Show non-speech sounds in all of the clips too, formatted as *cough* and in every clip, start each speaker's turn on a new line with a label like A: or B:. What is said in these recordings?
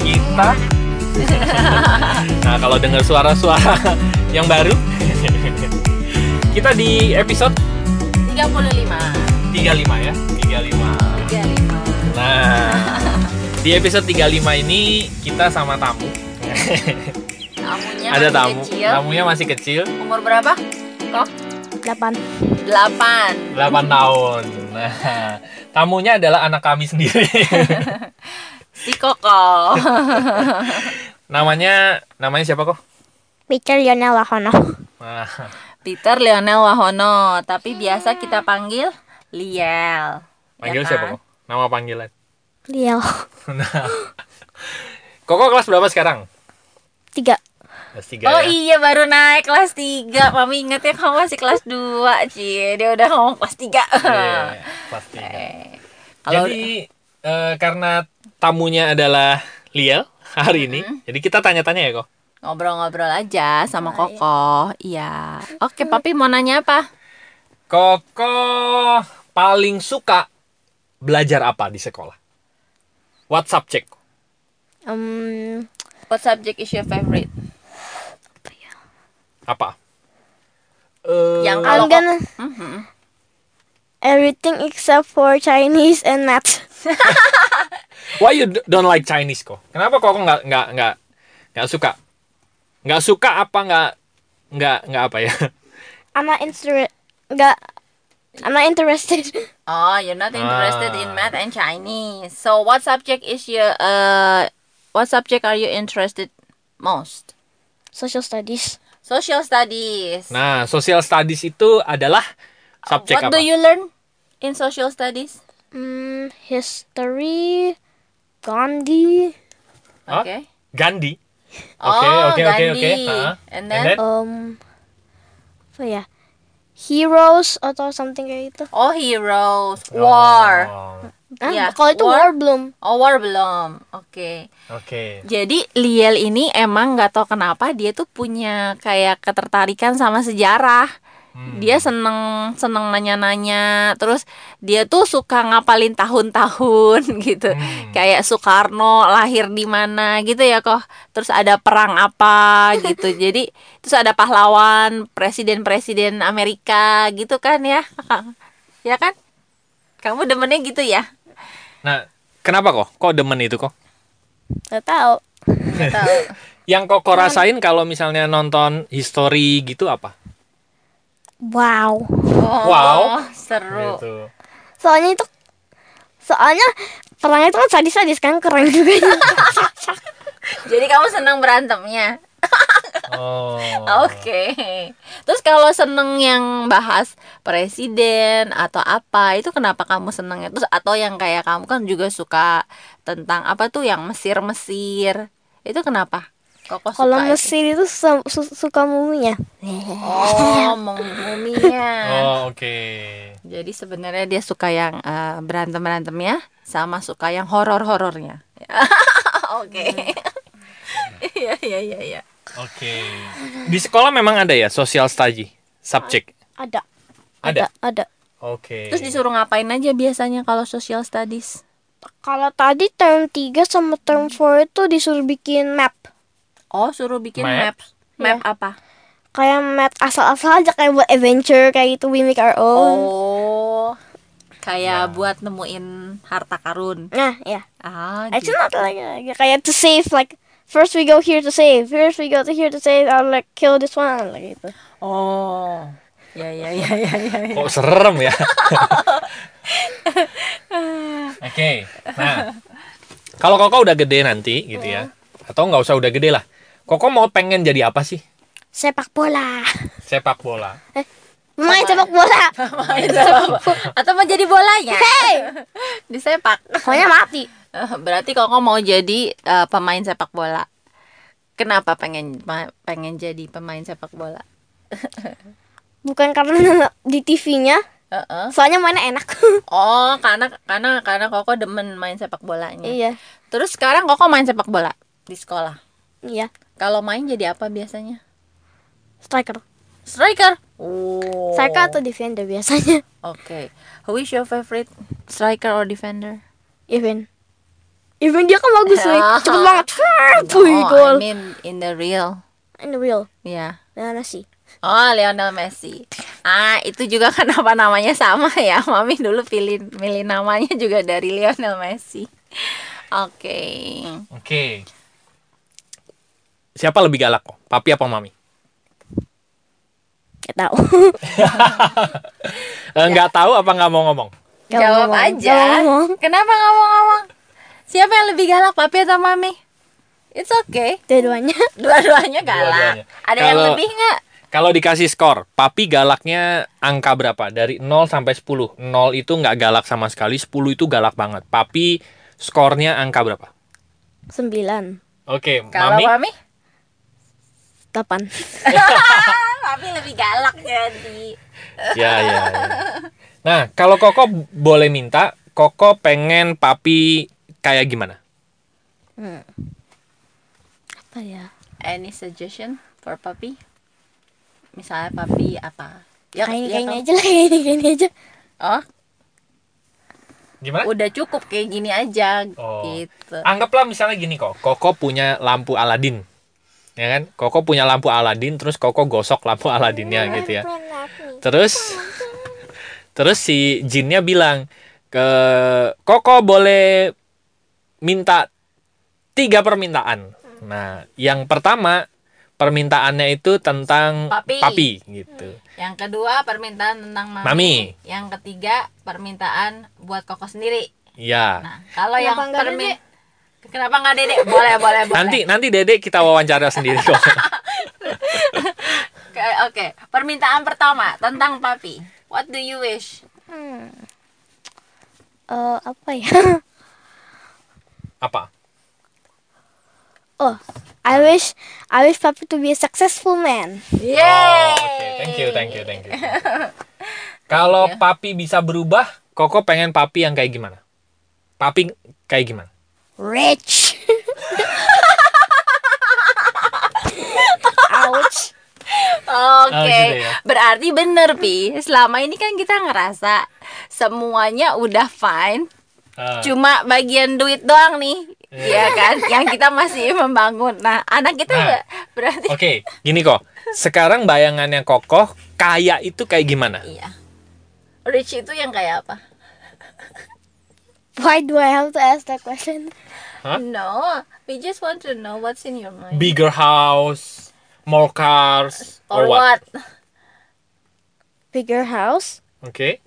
A: kita.
B: Nah, kalau dengar suara-suara yang baru, kita di episode
A: 35.
B: 35 ya. 35.
A: 35.
B: Nah, di episode 35 ini kita sama tamu.
A: Tamunya
B: Ada
A: masih
B: tamu.
A: kecil.
B: Tamunya masih kecil,
A: Umur berapa? Kok?
C: 8
A: 8.
B: 8 tahun. Nah, tamunya adalah anak kami
A: *laughs*
B: sendiri.
A: Si Koko.
B: *laughs* namanya namanya siapa kok?
C: Peter Yona Wahono
B: Nah,
A: Peter Lionel Wahono, tapi biasa kita panggil Liel.
B: panggil
A: Ya
B: siapa
A: kan?
B: kok? Nama panggilan.
C: Liel
B: Nah. *laughs* Koko kelas berapa sekarang?
C: 3
B: Kelas 3
A: Oh
B: ya.
A: iya baru naik kelas 3 Mami inget ya kamu masih kelas 2 Cie Dia udah ngomong kelas 3
B: Iya, kelas 3.
A: Eh, *laughs* Kalau
B: jadi eh, karena tamunya adalah Liel hari ini, jadi kita tanya-tanya ya kok.
A: ngobrol-ngobrol aja sama Koko Nah, Iya Oke papi mau nanya apa?
B: Koko paling suka belajar apa di sekolah? WhatsApp cek.
C: um,
A: What subject is your favorite?
B: Apa? Eh,
A: Yang
C: I'm
A: kalau
C: gonna Everything except for Chinese and math
B: Why you d- don't like Chinese kok? Kenapa kok nggak nggak nggak nggak suka? Nggak suka apa nggak nggak nggak apa ya?
C: I'm not interested Nggak I'm not interested *laughs*
A: Oh you're not interested
B: Ah.
A: in math and Chinese So what subject is your uh, What subject are you interested most?
C: Social studies
A: Social studies
B: Nah, social studies itu adalah subjek
A: What
B: apa?
A: do you learn in social studies?
C: um, History Gandhi
B: Hah?
A: Oke
B: Gandhi.
A: Oh,
B: Oke, oke, oke,
A: Gandhi.
B: oke. Ha.
A: And
B: Uh-huh. And
A: then?
B: then?
C: um, Apa ya Heroes atau something kayak gitu
A: Oh heroes,
B: Ah.
A: war.
B: Oh,
C: Hah?
A: Iya,
C: Kalau itu
A: war.
C: war belum
A: Oh, war belum. Oke.
B: Oke.
A: Jadi Liel ini emang nggak tahu kenapa dia tuh punya kayak ketertarikan sama sejarah.
B: Hmm.
A: Dia seneng seneng nanya-nanya. Terus dia tuh suka ngapalin tahun-tahun *laughs* gitu.
B: Hmm.
A: Kayak Soekarno lahir di mana gitu ya kok. Terus ada perang apa gitu.
B: *laughs*
A: Jadi terus ada pahlawan presiden-presiden Amerika gitu kan ya. *laughs* Ya kan? Kamu demennya gitu
B: *laughs*
A: ya?
B: Nah, kenapa kok? Kok demen itu kok?
C: Gak tau
A: Nggak tahu.
B: Yang kok rasain kalau misalnya nonton history gitu apa?
C: Wow
A: Oh,
B: Wow.
A: seru.
B: Gitu.
C: soalnya itu soalnya perangnya itu kan sadis-sadis kan keren juga *laughs*
A: Jadi kamu senang berantemnya.
B: Oh.
A: Oke. Terus kalau seneng yang bahas presiden atau apa, itu kenapa kamu senengnya? Terus atau yang kayak kamu kan juga suka tentang apa tuh yang Mesir-Mesir. Itu kenapa? Kok
C: kalau
A: suka itu?
C: Mesir itu su- su- suka muminya
A: Oh, menguminya.
B: Oh, oke.
A: Jadi sebenarnya dia suka yang eh, berantem-berantemnya sama suka yang horor-horornya. *laughs* Oke. Iya, iya, iya, iya.
B: Hmm. Oke. Di sekolah memang ada ya social study subjek.
C: ada
B: Ada.
C: ada
B: Oke.
A: Terus disuruh ngapain aja biasanya kalau social studies?
C: kalau tadi term 3 sama term 4 itu disuruh bikin map
A: Oh, suruh bikin
B: Map.
A: maps. Map apa?
C: kayak map asal-asal aja kayak buat adventure kayak gitu we make our own
A: Oh. Kayak buat nemuin harta karun.
C: nah ya
A: Ah, gitu.
C: actually not like, like- kayak to save like first we go here to save first we go to here to save I'll like kill this one like gitu
A: Oh. Ya ya ya ya ya. ya.
B: Kok serem ya? *laughs* Oke. Nah, kalau Koko udah gede nanti gitu ya, atau nggak usah udah gede lah. Koko mau pengen jadi apa sih?
C: sepak bola
B: Sepak bola.
C: main sepak bola *laughs*
A: Main sepak bola. Oh, Atau mau jadi bolanya?
C: hey
A: Disepak.
C: pokoknya mati
A: Eh, Berarti Koko mau jadi eh, pemain sepak bola. Kenapa pengen ma- pengen jadi pemain sepak bola?
C: bukan karena *laughs* di TV-nya,
A: Heeh.
C: soalnya mainnya
A: *laughs*
C: enak.
A: Oh, karena karena karena Koko demen main sepak bolanya.
C: iya,
A: Terus sekarang Koko main sepak bola di sekolah.
C: iya,
A: Kalau main jadi apa biasanya?
C: striker.
A: Striker. Oh.
C: Striker atau defender biasanya? *laughs*
A: Oke. Who is your favorite striker or defender?
C: Even Even dia kan bagus
A: *laughs*
C: nih. Cepet banget. *laughs* Puy,
A: Oh,
C: gol.
A: I mean in the real.
C: In the real.
A: Ya.
C: Nah, sih.
A: Oh, Lionel Messi. Ah, itu juga *laughs* kenapa namanya sama ya. *laughs* Mami dulu pilih milih namanya juga dari Lionel Messi. Oke.
B: Oke. Siapa lebih galak kok? Papi apa mami?
C: Gak tau.
B: Eh, Nggak tahu apa nggak mau ngomong?
C: Gak
A: *laughs* Jawab
C: ngomong,
A: aja.
C: gak ngomong.
A: Kenapa nggak mau ngomong? Siapa yang lebih galak, Papi atau Mami? It's okay.
C: Dua-duanya.
A: Dua-duanya galak.
B: Dua-duanya.
A: Ada yang
B: Kalau-
A: lebih nggak?
B: Kalau dikasih skor, papi galaknya angka berapa? Dari 0 sampai 10. 0 itu nggak galak sama sekali, 10 itu galak banget. Papi skornya angka berapa?
C: *laughs* Sembilan.
B: Oke,
A: Kalau
B: mami.
A: Mami?
C: Delapan.
A: Papi lebih galak jadi.
B: Ya, ya. ya. Nah, kalau Koko boleh minta, Koko pengen papi kayak gimana?
C: Apa ya?
A: Any suggestion for Papi? Misalnya Papi apa? Ya, ya
C: Kayak kayak ini
A: kamu-
C: aja lah. *laughs* Kayak ini, kayak ini aja.
A: Oh,
B: Gimana?
A: udah cukup kayak gini aja
B: Oh.
A: gitu.
B: Anggaplah misalnya gini kok, Koko punya lampu Aladin. Ya kan? Koko punya lampu Aladin, terus Koko gosok lampu
A: Iya.
B: Aladinnya gitu ya. Terus terus si jinnya bilang ke Koko boleh minta tiga permintaan. Nah, yang pertama permintaannya itu tentang
A: Papi.
B: gitu.
A: Yang kedua permintaan tentang mami.
B: Mami.
A: Yang ketiga permintaan buat koko sendiri.
B: Ya.
A: Nah, kalau yang
C: Kenapa nggak
A: permin Kenapa nggak dedek? Boleh, boleh, boleh.
B: Nanti nanti Dede kita wawancara sendiri kok. *laughs*
A: Oke, oke. Permintaan pertama tentang papi. What do you wish?
C: Hmm. Eh, apa ya? *laughs*
B: Apa?
C: Oh, I wish I wish Papi to be a successful man.
A: Yeay.
B: Oh, oke. Thank you, thank you, thank you. Kalau papi bisa berubah, Koko pengen papi yang kayak gimana? Papi kayak gimana?
C: Rich. Ouch.
A: Oke,
B: Oh, gitu ya.
A: berarti bener pi. Selama ini kan kita ngerasa semuanya udah fine,
B: Ah,
A: cuma bagian duit doang nih, ya kan? Yang kita masih membangun. Nah, anak kita
B: Iya. Nah.
A: ber- berarti
B: Oke, gini kok. Sekarang bayangannya Kokoh kaya itu kayak gimana?
A: iya. Rich itu yang kayak apa?
C: Why do I have to ask that question?
B: Hah?
A: No, we just want to know what's in your mind.
B: Bigger house, more cars,
A: Or what?
C: Bigger house
B: Oke.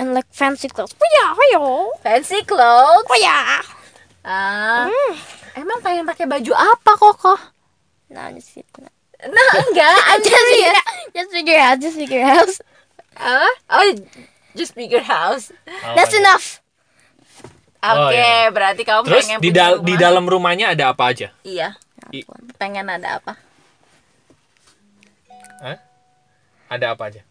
C: and like fancy clothes. Oh, Waya, waya,
A: Fancy
C: oh,
A: clothes?
C: waya.
A: Ah, emang pengen pakai baju apa kokoh?
C: No, just kidding. *laughs*
A: Nah, *laughs* enggak, I'm
C: just figure,
A: serious.
C: just figure house. Just figure house.
A: Apa? Oh, just bigger house.
C: That's enough.
A: Oke,
B: Oh, iya.
A: berarti kamu
B: Terus
A: pengen
B: di,
A: punya
B: dal-
A: rumah.
B: di dalam rumahnya ada apa aja?
A: Iya,
B: I-
A: pengen ada apa?
B: Hah? Ada apa aja?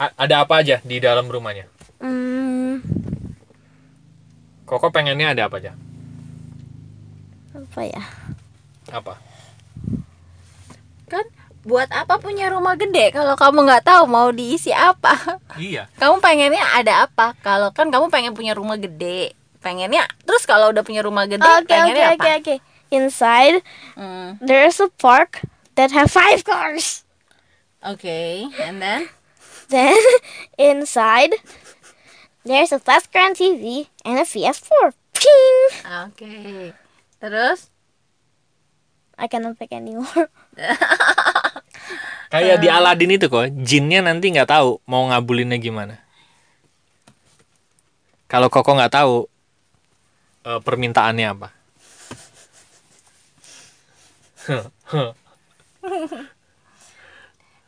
B: A- ada apa aja di dalam rumahnya?
C: Hmm,
B: Koko pengennya ada apa aja?
C: apa ya?
B: Apa?
A: Kan buat apa punya rumah gede kalau kamu nggak tahu mau diisi apa? *laughs*
B: Iya.
A: Kamu pengennya ada apa? Kalau kan kamu pengen punya rumah gede, pengennya terus kalau udah punya rumah gede
C: Okay, okay,
A: pengennya apa?
C: okay, okay. Inside
A: Hmm,
C: there is a park that have five cars. *laughs*
A: Oke, and then
C: Then inside there's a Fastcrown TV and a PS4. Ping!
A: oke. Terus
C: I cannot pick anymore. *laughs*
B: Kayak di Aladin itu kok, jinnya nanti nggak tahu mau ngabulinnya gimana. Kalau Koko nggak tahu eh, permintaannya apa.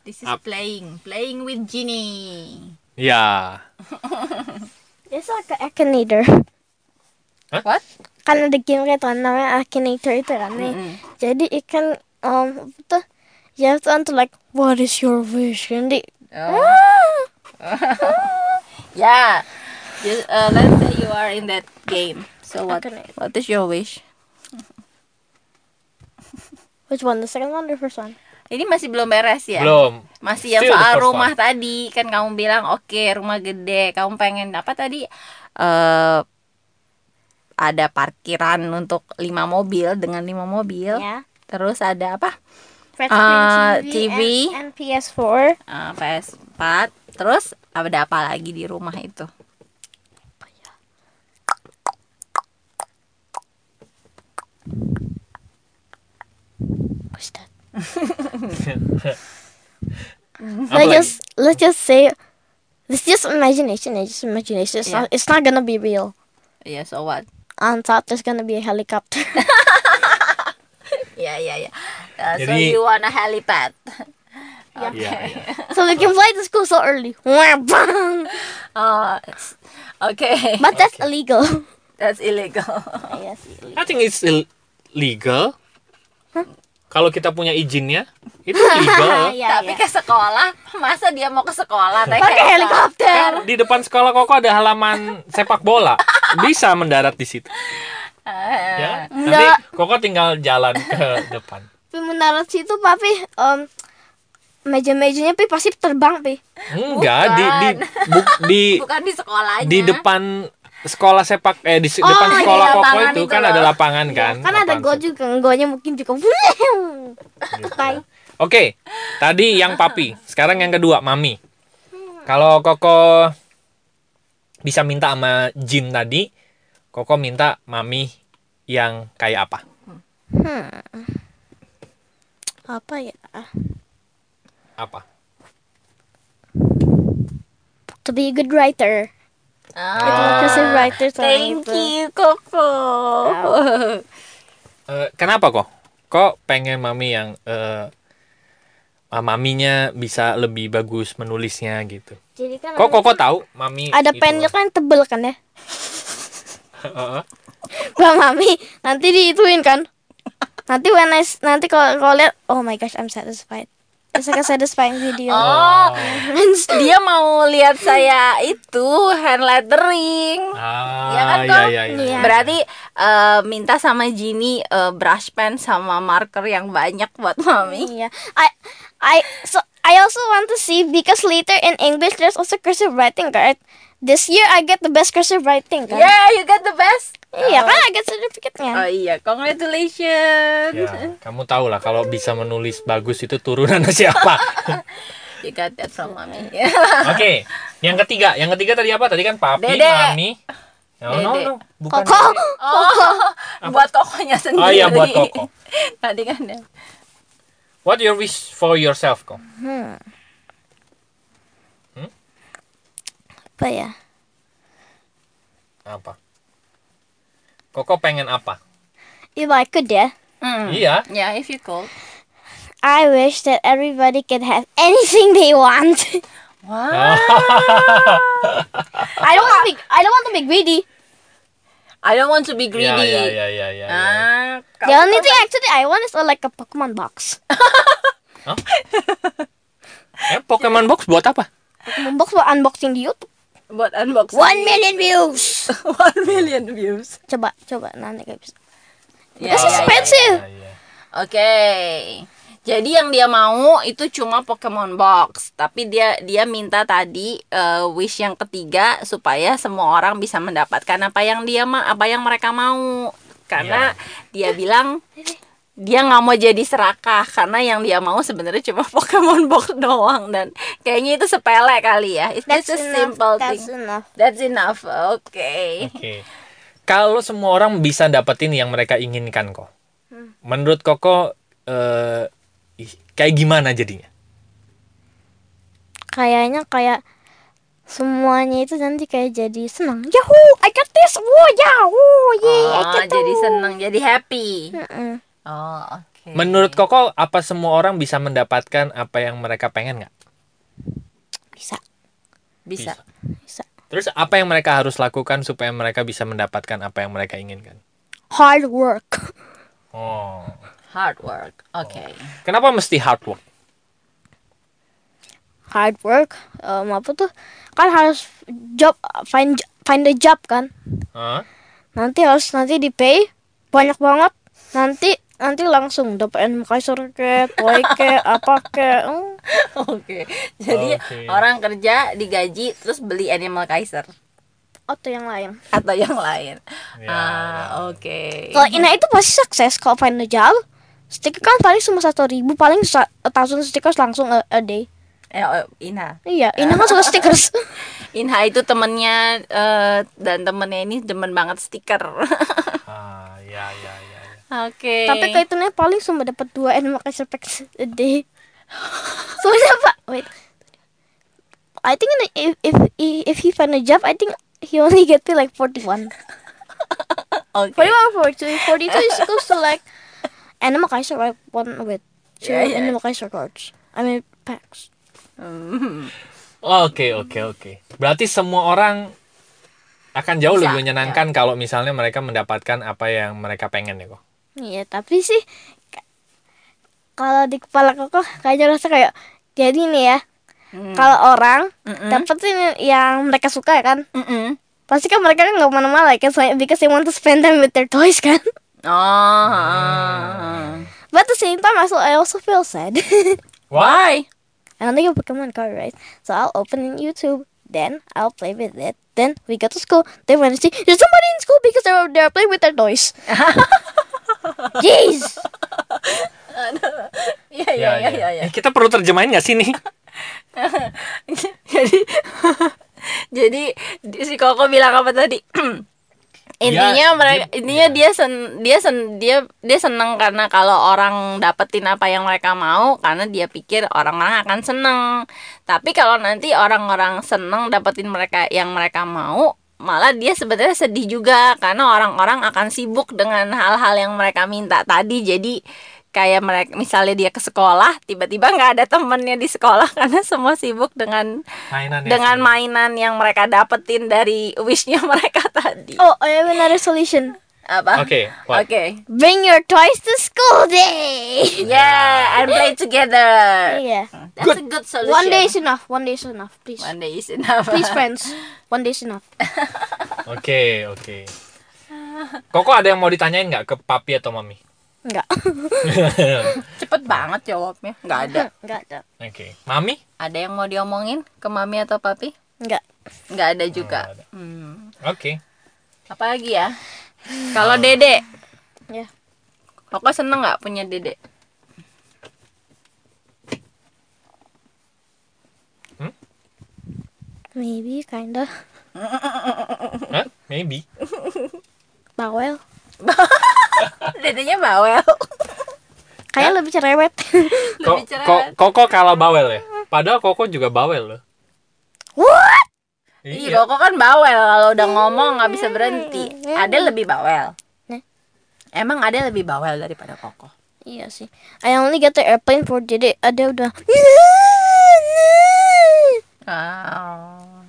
A: this is
B: Ap-
A: playing, playing with genie.
B: ya,
C: It's like an Akinator. *laughs*
A: What?
C: Kan ada game kayak tuh namanya Akinator itu kan nih. Jadi ikan um apa tuh? You have to answer like what is your wish? Jadi Hmm?
A: Oh. yeah. You, uh, let's say you are in that game. So what?
C: Okay.
A: What is your wish?
C: *gasps* which one? The second one or the first one?
A: Ini masih belum beres ya?
B: belum.
A: Masih yang
B: Still the
A: soal
B: first
A: rumah tadi kan kamu bilang oke rumah gede, kamu pengen apa tadi? eh ada parkiran untuk lima mobil dengan lima mobil.
C: Yeah.
A: Terus ada apa?
C: Flat
A: Uh,
C: screen
A: TV.
C: And, and PS4.
A: Eh, PS4. Terus ada apa lagi di rumah itu?
C: What's
A: *laughs*
C: that? *laughs* let's
B: lagi?
C: just let's just say it's just imagination. It's just imagination. It's
A: Yeah.
C: not it's not gonna be real.
A: Ya, so what?
C: On top, there's gonna be a helicopter.
A: Ya, ya, ya. Eh, so
B: Jadi-
A: you want a helipad?
B: Iya, iya.
C: so we can fly to school so early. but
A: Oh, it's- okay.
C: that's *laughs* illegal.
A: That's *laughs* illegal.
C: yes, illegal.
B: I think it's ill- legal. Kalau kita punya izinnya, itu
C: *laughs*
B: legal.
C: Ah, yeah,
A: Tapi ke sekolah, masa dia mau ke sekolah naik
C: Pakai
A: helikopter?
C: helikopter.
B: Kan di depan sekolah Koko ada halaman sepak bola. Bisa mendarat di situ.
A: Eh,
B: Ya. kan? Nanti
C: Enggak.
B: Koko tinggal jalan ke depan.
C: Tapi mendarat situ papi um, meja-mejanya pi pasti terbang pi.
B: Enggak di di bu- di
A: Bukan di sekolahnya.
B: di depan sekolah sepak eh di se-
C: Oh,
B: depan
C: iya,
B: sekolah Koko
A: lapangan
B: itu
A: itu
B: kan
A: loh.
B: ada lapangan kan. Iya,
C: Kan ada
B: lapangan
C: go
B: sepak.
C: juga, gonya mungkin juga. Wuling.
B: iya.
C: Bye.
B: Oke, tadi yang papi, sekarang yang kedua mami. Kalau Koko bisa minta sama Jin tadi, Koko minta mami yang kayak apa?
C: Apa ya?
B: Apa?
C: To be a good writer.
A: Ah,
C: Itu cursive writer soalnya
A: thank
C: itu.
A: you, Koko.
B: Eh, kenapa kok? Kok pengen mami yang eh, ah, maminya bisa lebih bagus menulisnya gitu?
C: Jadi kan
A: Hmm.
B: Kok Koko tahu mami?
C: ada
B: itu-
C: pennya kan tebel kan ya.
B: Heeh.
C: Gak mami, nanti diituin kan. Nanti when I s- nanti kalau kalau lihat, oh my gosh, I'm satisfied. It's like a satisfying video.
A: Oh, dia mau lihat saya itu hand lettering.
B: Ah,
A: Iya kan,
B: iya,
A: Kok?
B: iya, iya.
C: Iya.
A: Berarti eh, minta sama Jini eh, brush pen sama marker yang banyak buat mami.
C: Yeah, I, I, so I also want to see because later in English there's also cursive writing, right? This year I get the best cursive writing, kan?
A: Yeah, you get the best.
C: Iya kan, I get certificate-nya.
A: Oh iya, congratulations.
B: Ya, kamu tahu lah kalau bisa menulis bagus itu turunan *laughs* siapa?
A: You got that from mami.
B: Oke, yang ketiga, yang ketiga tadi apa? Tadi kan papi,
A: Dede.
B: mami. No, no,
A: Dede.
B: no, bukan.
C: Koko.
B: dede.
A: Oh, *laughs* buat kokonya sendiri.
B: Oh iya
A: *laughs*
B: buat Koko.
A: Tadi kan ya.
B: What your wish for yourself, Kok?
C: Apa ya?
B: Apa? Koko pengen apa?
C: If I could, ya,
A: Hmm.
B: Iya.
A: Yeah, if you could.
C: I wish that everybody can have anything they want.
B: Ah.
A: Wah, Ah.
B: *laughs*
C: I don't want to be, I don't want to be greedy.
A: I don't want to be greedy.
B: Iya, iya, iya, iya, iya.
A: Ah,
C: The only thing actually I want is uh, like a Pokemon box. *laughs*
B: Eh, Pokemon box buat apa?
C: Pokemon box buat unboxing di YouTube.
A: buat unboxing.
C: One million views. *laughs*
A: One million views.
C: coba, coba nanti gak bisa.
A: Ya,
C: This is
A: ya, ya.
C: expensive.
B: Iya, iya.
A: Oke. Jadi yang dia mau itu cuma Pokemon Box, tapi dia dia minta tadi eh, wish yang ketiga supaya semua orang bisa mendapatkan apa yang dia ma apa yang mereka mau. Karena dia bilang dia nggak mau jadi serakah karena yang dia mau sebenarnya cuma *laughs* Pokemon Box doang dan kayaknya itu sepele kali ya. It's just a simple
C: That's
A: thing.
C: enough.
A: That's enough. Oke.
B: Oke. Kalau semua orang bisa dapetin yang mereka inginkan kok. Menurut Koko eh ih, kayak gimana jadinya?
C: kayaknya kayak semuanya itu nanti kayak jadi senang. Yahoo, I got this. Wow, yahoo, yeah, I
A: Oh,
C: get
A: jadi seneng, jadi happy.
C: Mm-mm.
A: Oh, oke.
B: Menurut Koko apa semua orang bisa mendapatkan apa yang mereka pengen nggak?
C: Bisa,
A: bisa.
C: bisa.
B: Terus apa yang mereka harus lakukan supaya mereka bisa mendapatkan apa yang mereka inginkan?
C: Hard work. *laughs*
B: Oh.
A: Hard work. Oke.
B: Kenapa mesti hard work?
C: Hard work. em, apa tuh? Kan harus job find find a job kan.
B: Hah?
C: Nanti harus nanti di pay banyak banget. Nanti nanti langsung dapetin Kaiser ke, toy ke, apa ke. mm.
A: *laughs* Oke. Jadi
B: Oke.
A: orang kerja digaji terus beli Animal Kaiser.
C: atau yang lain.
A: atau yang lain
B: Ya.
A: ah oke
C: Kalau Ina itu pasti sukses kalau final jal. Stiker kan paling cuma satu ribu, paling sa- a thousand stickers langsung a, a day.
A: Eh, oh, Ina
C: Iya, Ina kan suka stickers.
A: Inha itu temennya eh, dan temennya ini demen banget stiker *laughs* oke
B: Ah, ya, ya, ya. ya.
C: Tapi kaitannya paling cuma dapat dua animal capture packs a day. *laughs* Soalnya pak, wait. I think in- if if if he find a job, I think he only get paid like forty one.
A: oke
C: Forty one, forty two, forty two is close to like animal capture like one with two
A: Yeah, yeah.
C: animal capture cards. I mean packs.
A: Hmm.
B: Oke, oke, oke. Berarti semua orang akan jauh lebih
A: Ya.
B: menyenangkan kalau misalnya mereka mendapatkan apa yang mereka pengen ya kok.
C: Iya, tapi sih ka- kalau di kepala koko kayaknya rasa kayak jadi nih ya.
A: Hmm.
C: Kalau orang dapetin yang mereka suka kan,
A: Mm-mm.
C: pasti kan mereka kan nggak mana-mana like, it's like, because they want to spend time with their toys kan. *laughs*
A: oh
B: Hmm.
C: But at the same time, I also, I also feel sad.
B: Wah,
A: Why?
C: I don't think a Pokemon card, right? So I'll open in YouTube. Then I'll play with it. Then we go to school. Then when I see there's somebody in school because they're they're playing with
A: *laughs*
C: their toys. Jeez.
A: Iya iya
B: ya,
A: iya iya.
B: ya. Eh, kita perlu terjemahin nggak sih nih?
A: *laughs* jadi jadi di- si Koko bilang apa tadi? *clears throat* intinya
B: Dia-
A: mereka
B: dia-
A: intinya dia sen dia sen dia dia seneng karena kalau orang dapetin apa yang mereka mau karena dia pikir orang-orang akan seneng tapi kalau nanti orang-orang seneng dapetin mereka yang mereka mau malah dia sebenarnya sedih juga karena orang-orang akan sibuk dengan hal-hal yang mereka minta tadi jadi kayak mereka misalnya dia ke sekolah tiba-tiba nggak ada temennya di sekolah *laughs* karena semua sibuk dengan
B: Mainan ya.
A: dengan mainan yang mereka dapetin dari wishnya *laughs* mereka tadi
C: Oh, I have another solution.
A: apa
B: Oke,
A: oke
B: what?
C: Bring your toys to school day.
B: Iya.
A: yeah and play together
C: Yeah.
A: that's a good solution
C: One day is enough. One day is enough. Please.
A: one *laughs* day is enough
C: Please, friends. One day is enough.
B: Oke, oke. Koko ada yang mau ditanyain nggak ke papi atau mami?
C: Enggak.
A: cepet banget jawabnya nggak ada
C: *laughs* Enggak ada.
B: Oke, mami?
A: ada yang mau diomongin ke mami atau papi
C: Enggak.
A: nggak ada juga
B: Nggak ada.
A: hmm.
B: Oke.
A: apa lagi ya kalau dede
C: Ya.
A: Koko seneng nggak punya dede
C: Maybe kinda.
B: Hah? Maybe.
C: Bawel.
A: dedenya bawel
C: Kayak lebih cerewet. *laughs*
B: Ko-
A: Lebih cerewet.
B: ko- Koko kalah bawel ya. Padahal Koko juga bawel loh.
C: What?
B: Iya.
A: Ih, Koko kan bawel kalau udah ngomong nggak bisa berhenti. Ada lebih bawel.
C: Nah.
A: Emang ada lebih bawel daripada Koko.
C: Iya sih. I only get the airplane for uh, dede. Ada *laughs* udah.
A: Oh.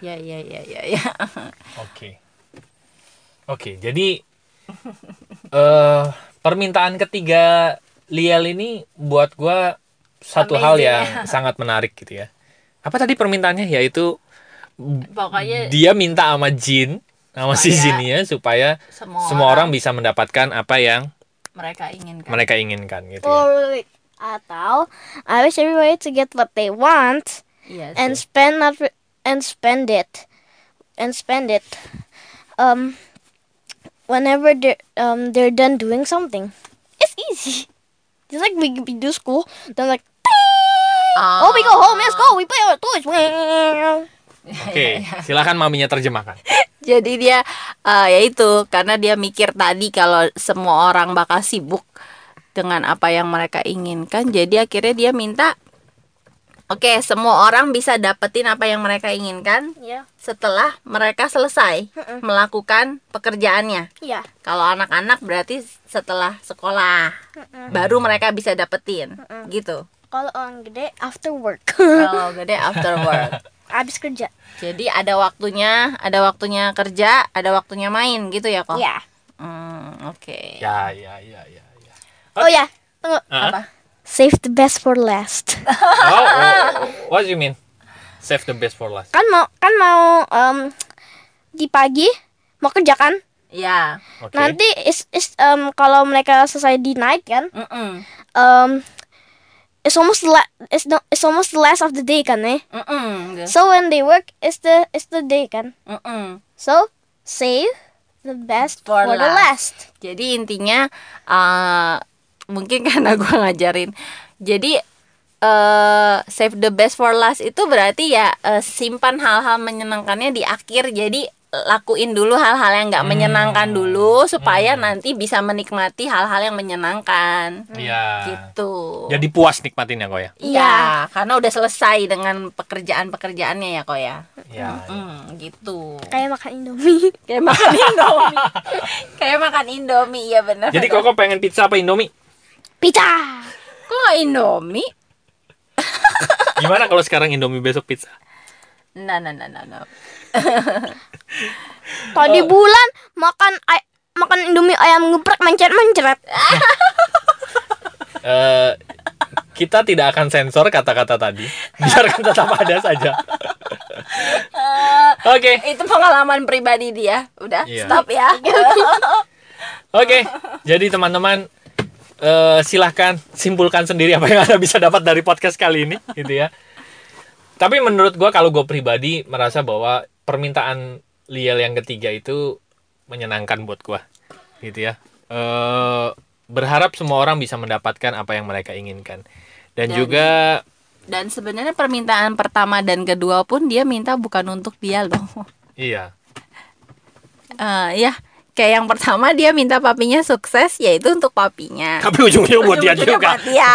A: Ya ya ya ya ya. *laughs*
B: Oke. Oke, jadi *laughs* eh permintaan ketiga Liel ini buat gua satu hal
A: Amazing, *laughs*
B: yang sangat menarik gitu ya. Apa tadi permintaannya yaitu
A: Pokoknya
B: dia minta sama Jin sama si
A: Supaya-
B: Jinnya supaya
A: Oh, iya. semua,
B: semua orang bisa mendapatkan apa yang
A: mereka inginkan.
B: mereka inginkan gitu
A: Oh,
B: ya.
C: Or wait. Atau I wish everybody to get what they want
A: Iya.
C: and
A: sih.
C: spend not re- and spend it and spend it. Um, whenever they um they're done doing something, it's easy. *laughs* Just like we, we do school, then like.
A: Ah.
C: Oh, we go home. Let's go. We play our *laughs* toys.
A: iya,
B: Oke, silahkan maminya
A: *laughs*
B: terjemahkan.
A: Jadi dia eh, ya itu karena dia mikir tadi kalau semua orang bakal sibuk dengan apa yang mereka inginkan. Jadi akhirnya dia minta Oke, semua orang bisa dapetin apa yang mereka inginkan
C: Yeah.
A: setelah mereka selesai melakukan pekerjaannya.
C: Yeah.
A: Kalau anak-anak berarti setelah sekolah baru mereka bisa dapetin gitu.
C: Kalau orang gede after work. *laughs*
A: Kalau gede after work.
C: Abis kerja.
A: Jadi ada waktunya, ada waktunya kerja, ada waktunya main gitu ya kok.
C: Ya.
A: Hmm, oke.
B: Ya, ya, ya, ya. ya.
C: Oh ya, tunggu.
B: Hah?
C: Save the best for last.
B: Oh, oh, what do you mean? Save the best for last.
C: *laughs* kan mau kan mau em, di pagi mau kerja kan?
A: Ya.
B: Oke.
C: Nanti is is em, kalau mereka selesai di night kan,
A: Mm-mm.
C: em, it's almost the la- it's not it's almost the last of the day kan eh.
A: Mm-mm. gitu.
C: So when they work, it's the it's the day kan.
A: Mm-mm.
C: So save the best
A: For
C: for, the
A: last.
C: last.
A: Jadi intinya eh, mungkin *laughs* karena gue ngajarin. Jadi eh save the best for last itu berarti ya eh, simpan hal-hal menyenangkannya di akhir. Jadi lakuin dulu hal-hal yang
B: Hmm.
A: nggak menyenangkan dulu supaya nanti bisa menikmati hal-hal yang menyenangkan.
B: Iya.
A: Gitu.
B: Jadi puas nikmatin ya kok ya.
A: Iya, karena udah selesai dengan pekerjaan-pekerjaannya ya kok ya.
B: Iya.
A: Hmm, gitu.
C: Kayak makan Indomie.
A: Kayak
B: *laughs*
A: makan Indomie. Kayak makan Indomie, iya benar.
B: Jadi Koko pengen pizza apa Indomie?
C: *laughs* Pizza.
A: Kok nggak Indomie?
B: Gimana kalau sekarang Indomie besok pizza?
A: Nah, nah, nah, nah, nah.
C: Tadi bulan makan ay- makan Indomie ayam geprek mencret-mencret.
B: Eh, kita tidak akan sensor kata-kata tadi. Biarkan tetap ada saja. Oke,
A: Itu pengalaman pribadi dia. Udah,
B: Iya.
A: stop ya. *laughs*
B: oke. Jadi teman-teman eh, silahkan simpulkan sendiri apa yang anda bisa dapat dari podcast kali ini, gitu ya. Tapi menurut gua kalau gue pribadi merasa bahwa permintaan Liel yang ketiga itu menyenangkan buat gua, gitu ya. Eh, berharap semua orang bisa mendapatkan apa yang mereka inginkan dan
A: Dan-
B: juga
A: Dan sebenarnya permintaan pertama dan kedua pun dia minta bukan untuk dia loh. *laughs*
B: iya
A: Eh, ya, kayak yang pertama dia minta papinya sukses yaitu untuk papinya.
B: tapi ujungnya buat dia
A: Ujung-ujungnya
B: juga
A: buat dia.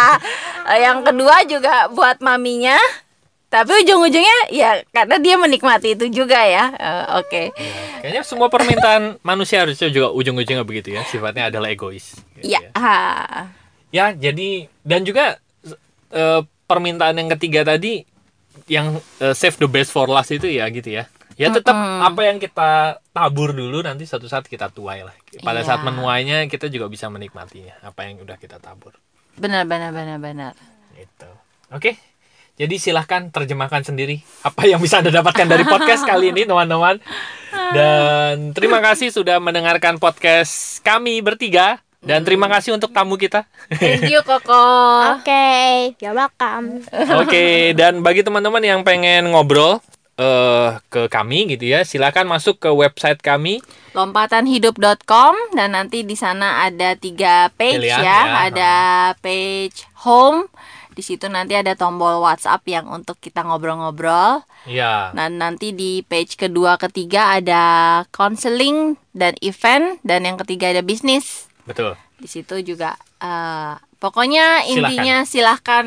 A: Eh, Yang kedua juga buat maminya. Tapi ujung-ujungnya ya karena dia menikmati itu juga ya. Eh, Oke.
B: kayaknya semua permintaan manusia harusnya juga ujung-ujungnya begitu ya sifatnya adalah egois gitu
A: Ya. ah.
B: ya jadi dan juga eh, permintaan yang ketiga tadi yang eh, save the best for last itu ya gitu ya ya tetap apa yang kita tabur dulu nanti suatu saat kita tuai lah pada saat
A: Iya.
B: menuainya kita juga bisa menikmatinya apa yang udah kita tabur
A: Benar benar benar benar.
B: Gitu. Oke. Jadi silahkan terjemahkan sendiri apa yang bisa Anda dapatkan dari podcast kali ini, teman-teman. Dan terima kasih sudah mendengarkan podcast kami bertiga. Dan terima kasih untuk tamu kita.
A: Thank you Koko.
C: Oke, ya welcome.
B: Oke, dan bagi teman-teman yang pengen ngobrol eh ke kami gitu ya, silahkan masuk ke website kami.
A: lompatanhidup.com dan nanti di sana ada tiga page
B: Pilihan,
A: ya,
B: ya.
A: ada page home di situ nanti ada tombol WhatsApp yang untuk kita ngobrol-ngobrol.
B: Ya.
A: Dan nanti di page kedua ketiga ada counseling dan event dan yang ketiga ada bisnis.
B: Betul.
A: Di situ juga eh, pokoknya intinya silahkan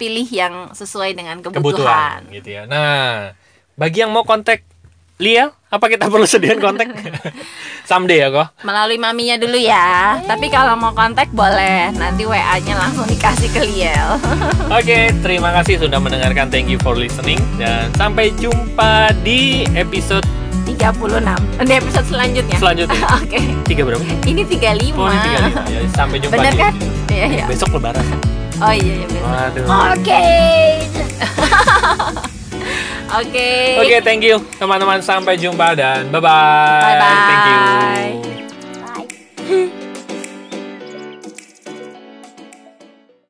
A: pilih yang sesuai dengan
B: Kebutuhan
A: kebutuhan.
B: gitu ya. Nah, bagi yang mau kontak Liel, apa kita perlu sediain kontak? Someday ya kok.
A: Melalui maminya dulu ya. Tapi kalau mau kontak boleh. Nanti WA-nya langsung dikasih ke Liel.
B: Oke, terima kasih sudah mendengarkan. Thank you for listening dan sampai jumpa di episode
A: 36. Di episode selanjutnya.
B: selanjutnya.
A: Oke.
B: Tiga berapa? Oh, ini
A: Ini 35.
B: tiga lima. Ya, sampai jumpa
A: Bener
B: di
A: kan? Iya, iya.
B: besok lebaran.
A: Oh iya, iya. bener.
B: Waduh.
C: Oke.
A: Oke.
B: Oke, thank you teman-teman. Sampai jumpa dan bye-bye.
A: Bye-bye.
B: Thank you.
C: Bye.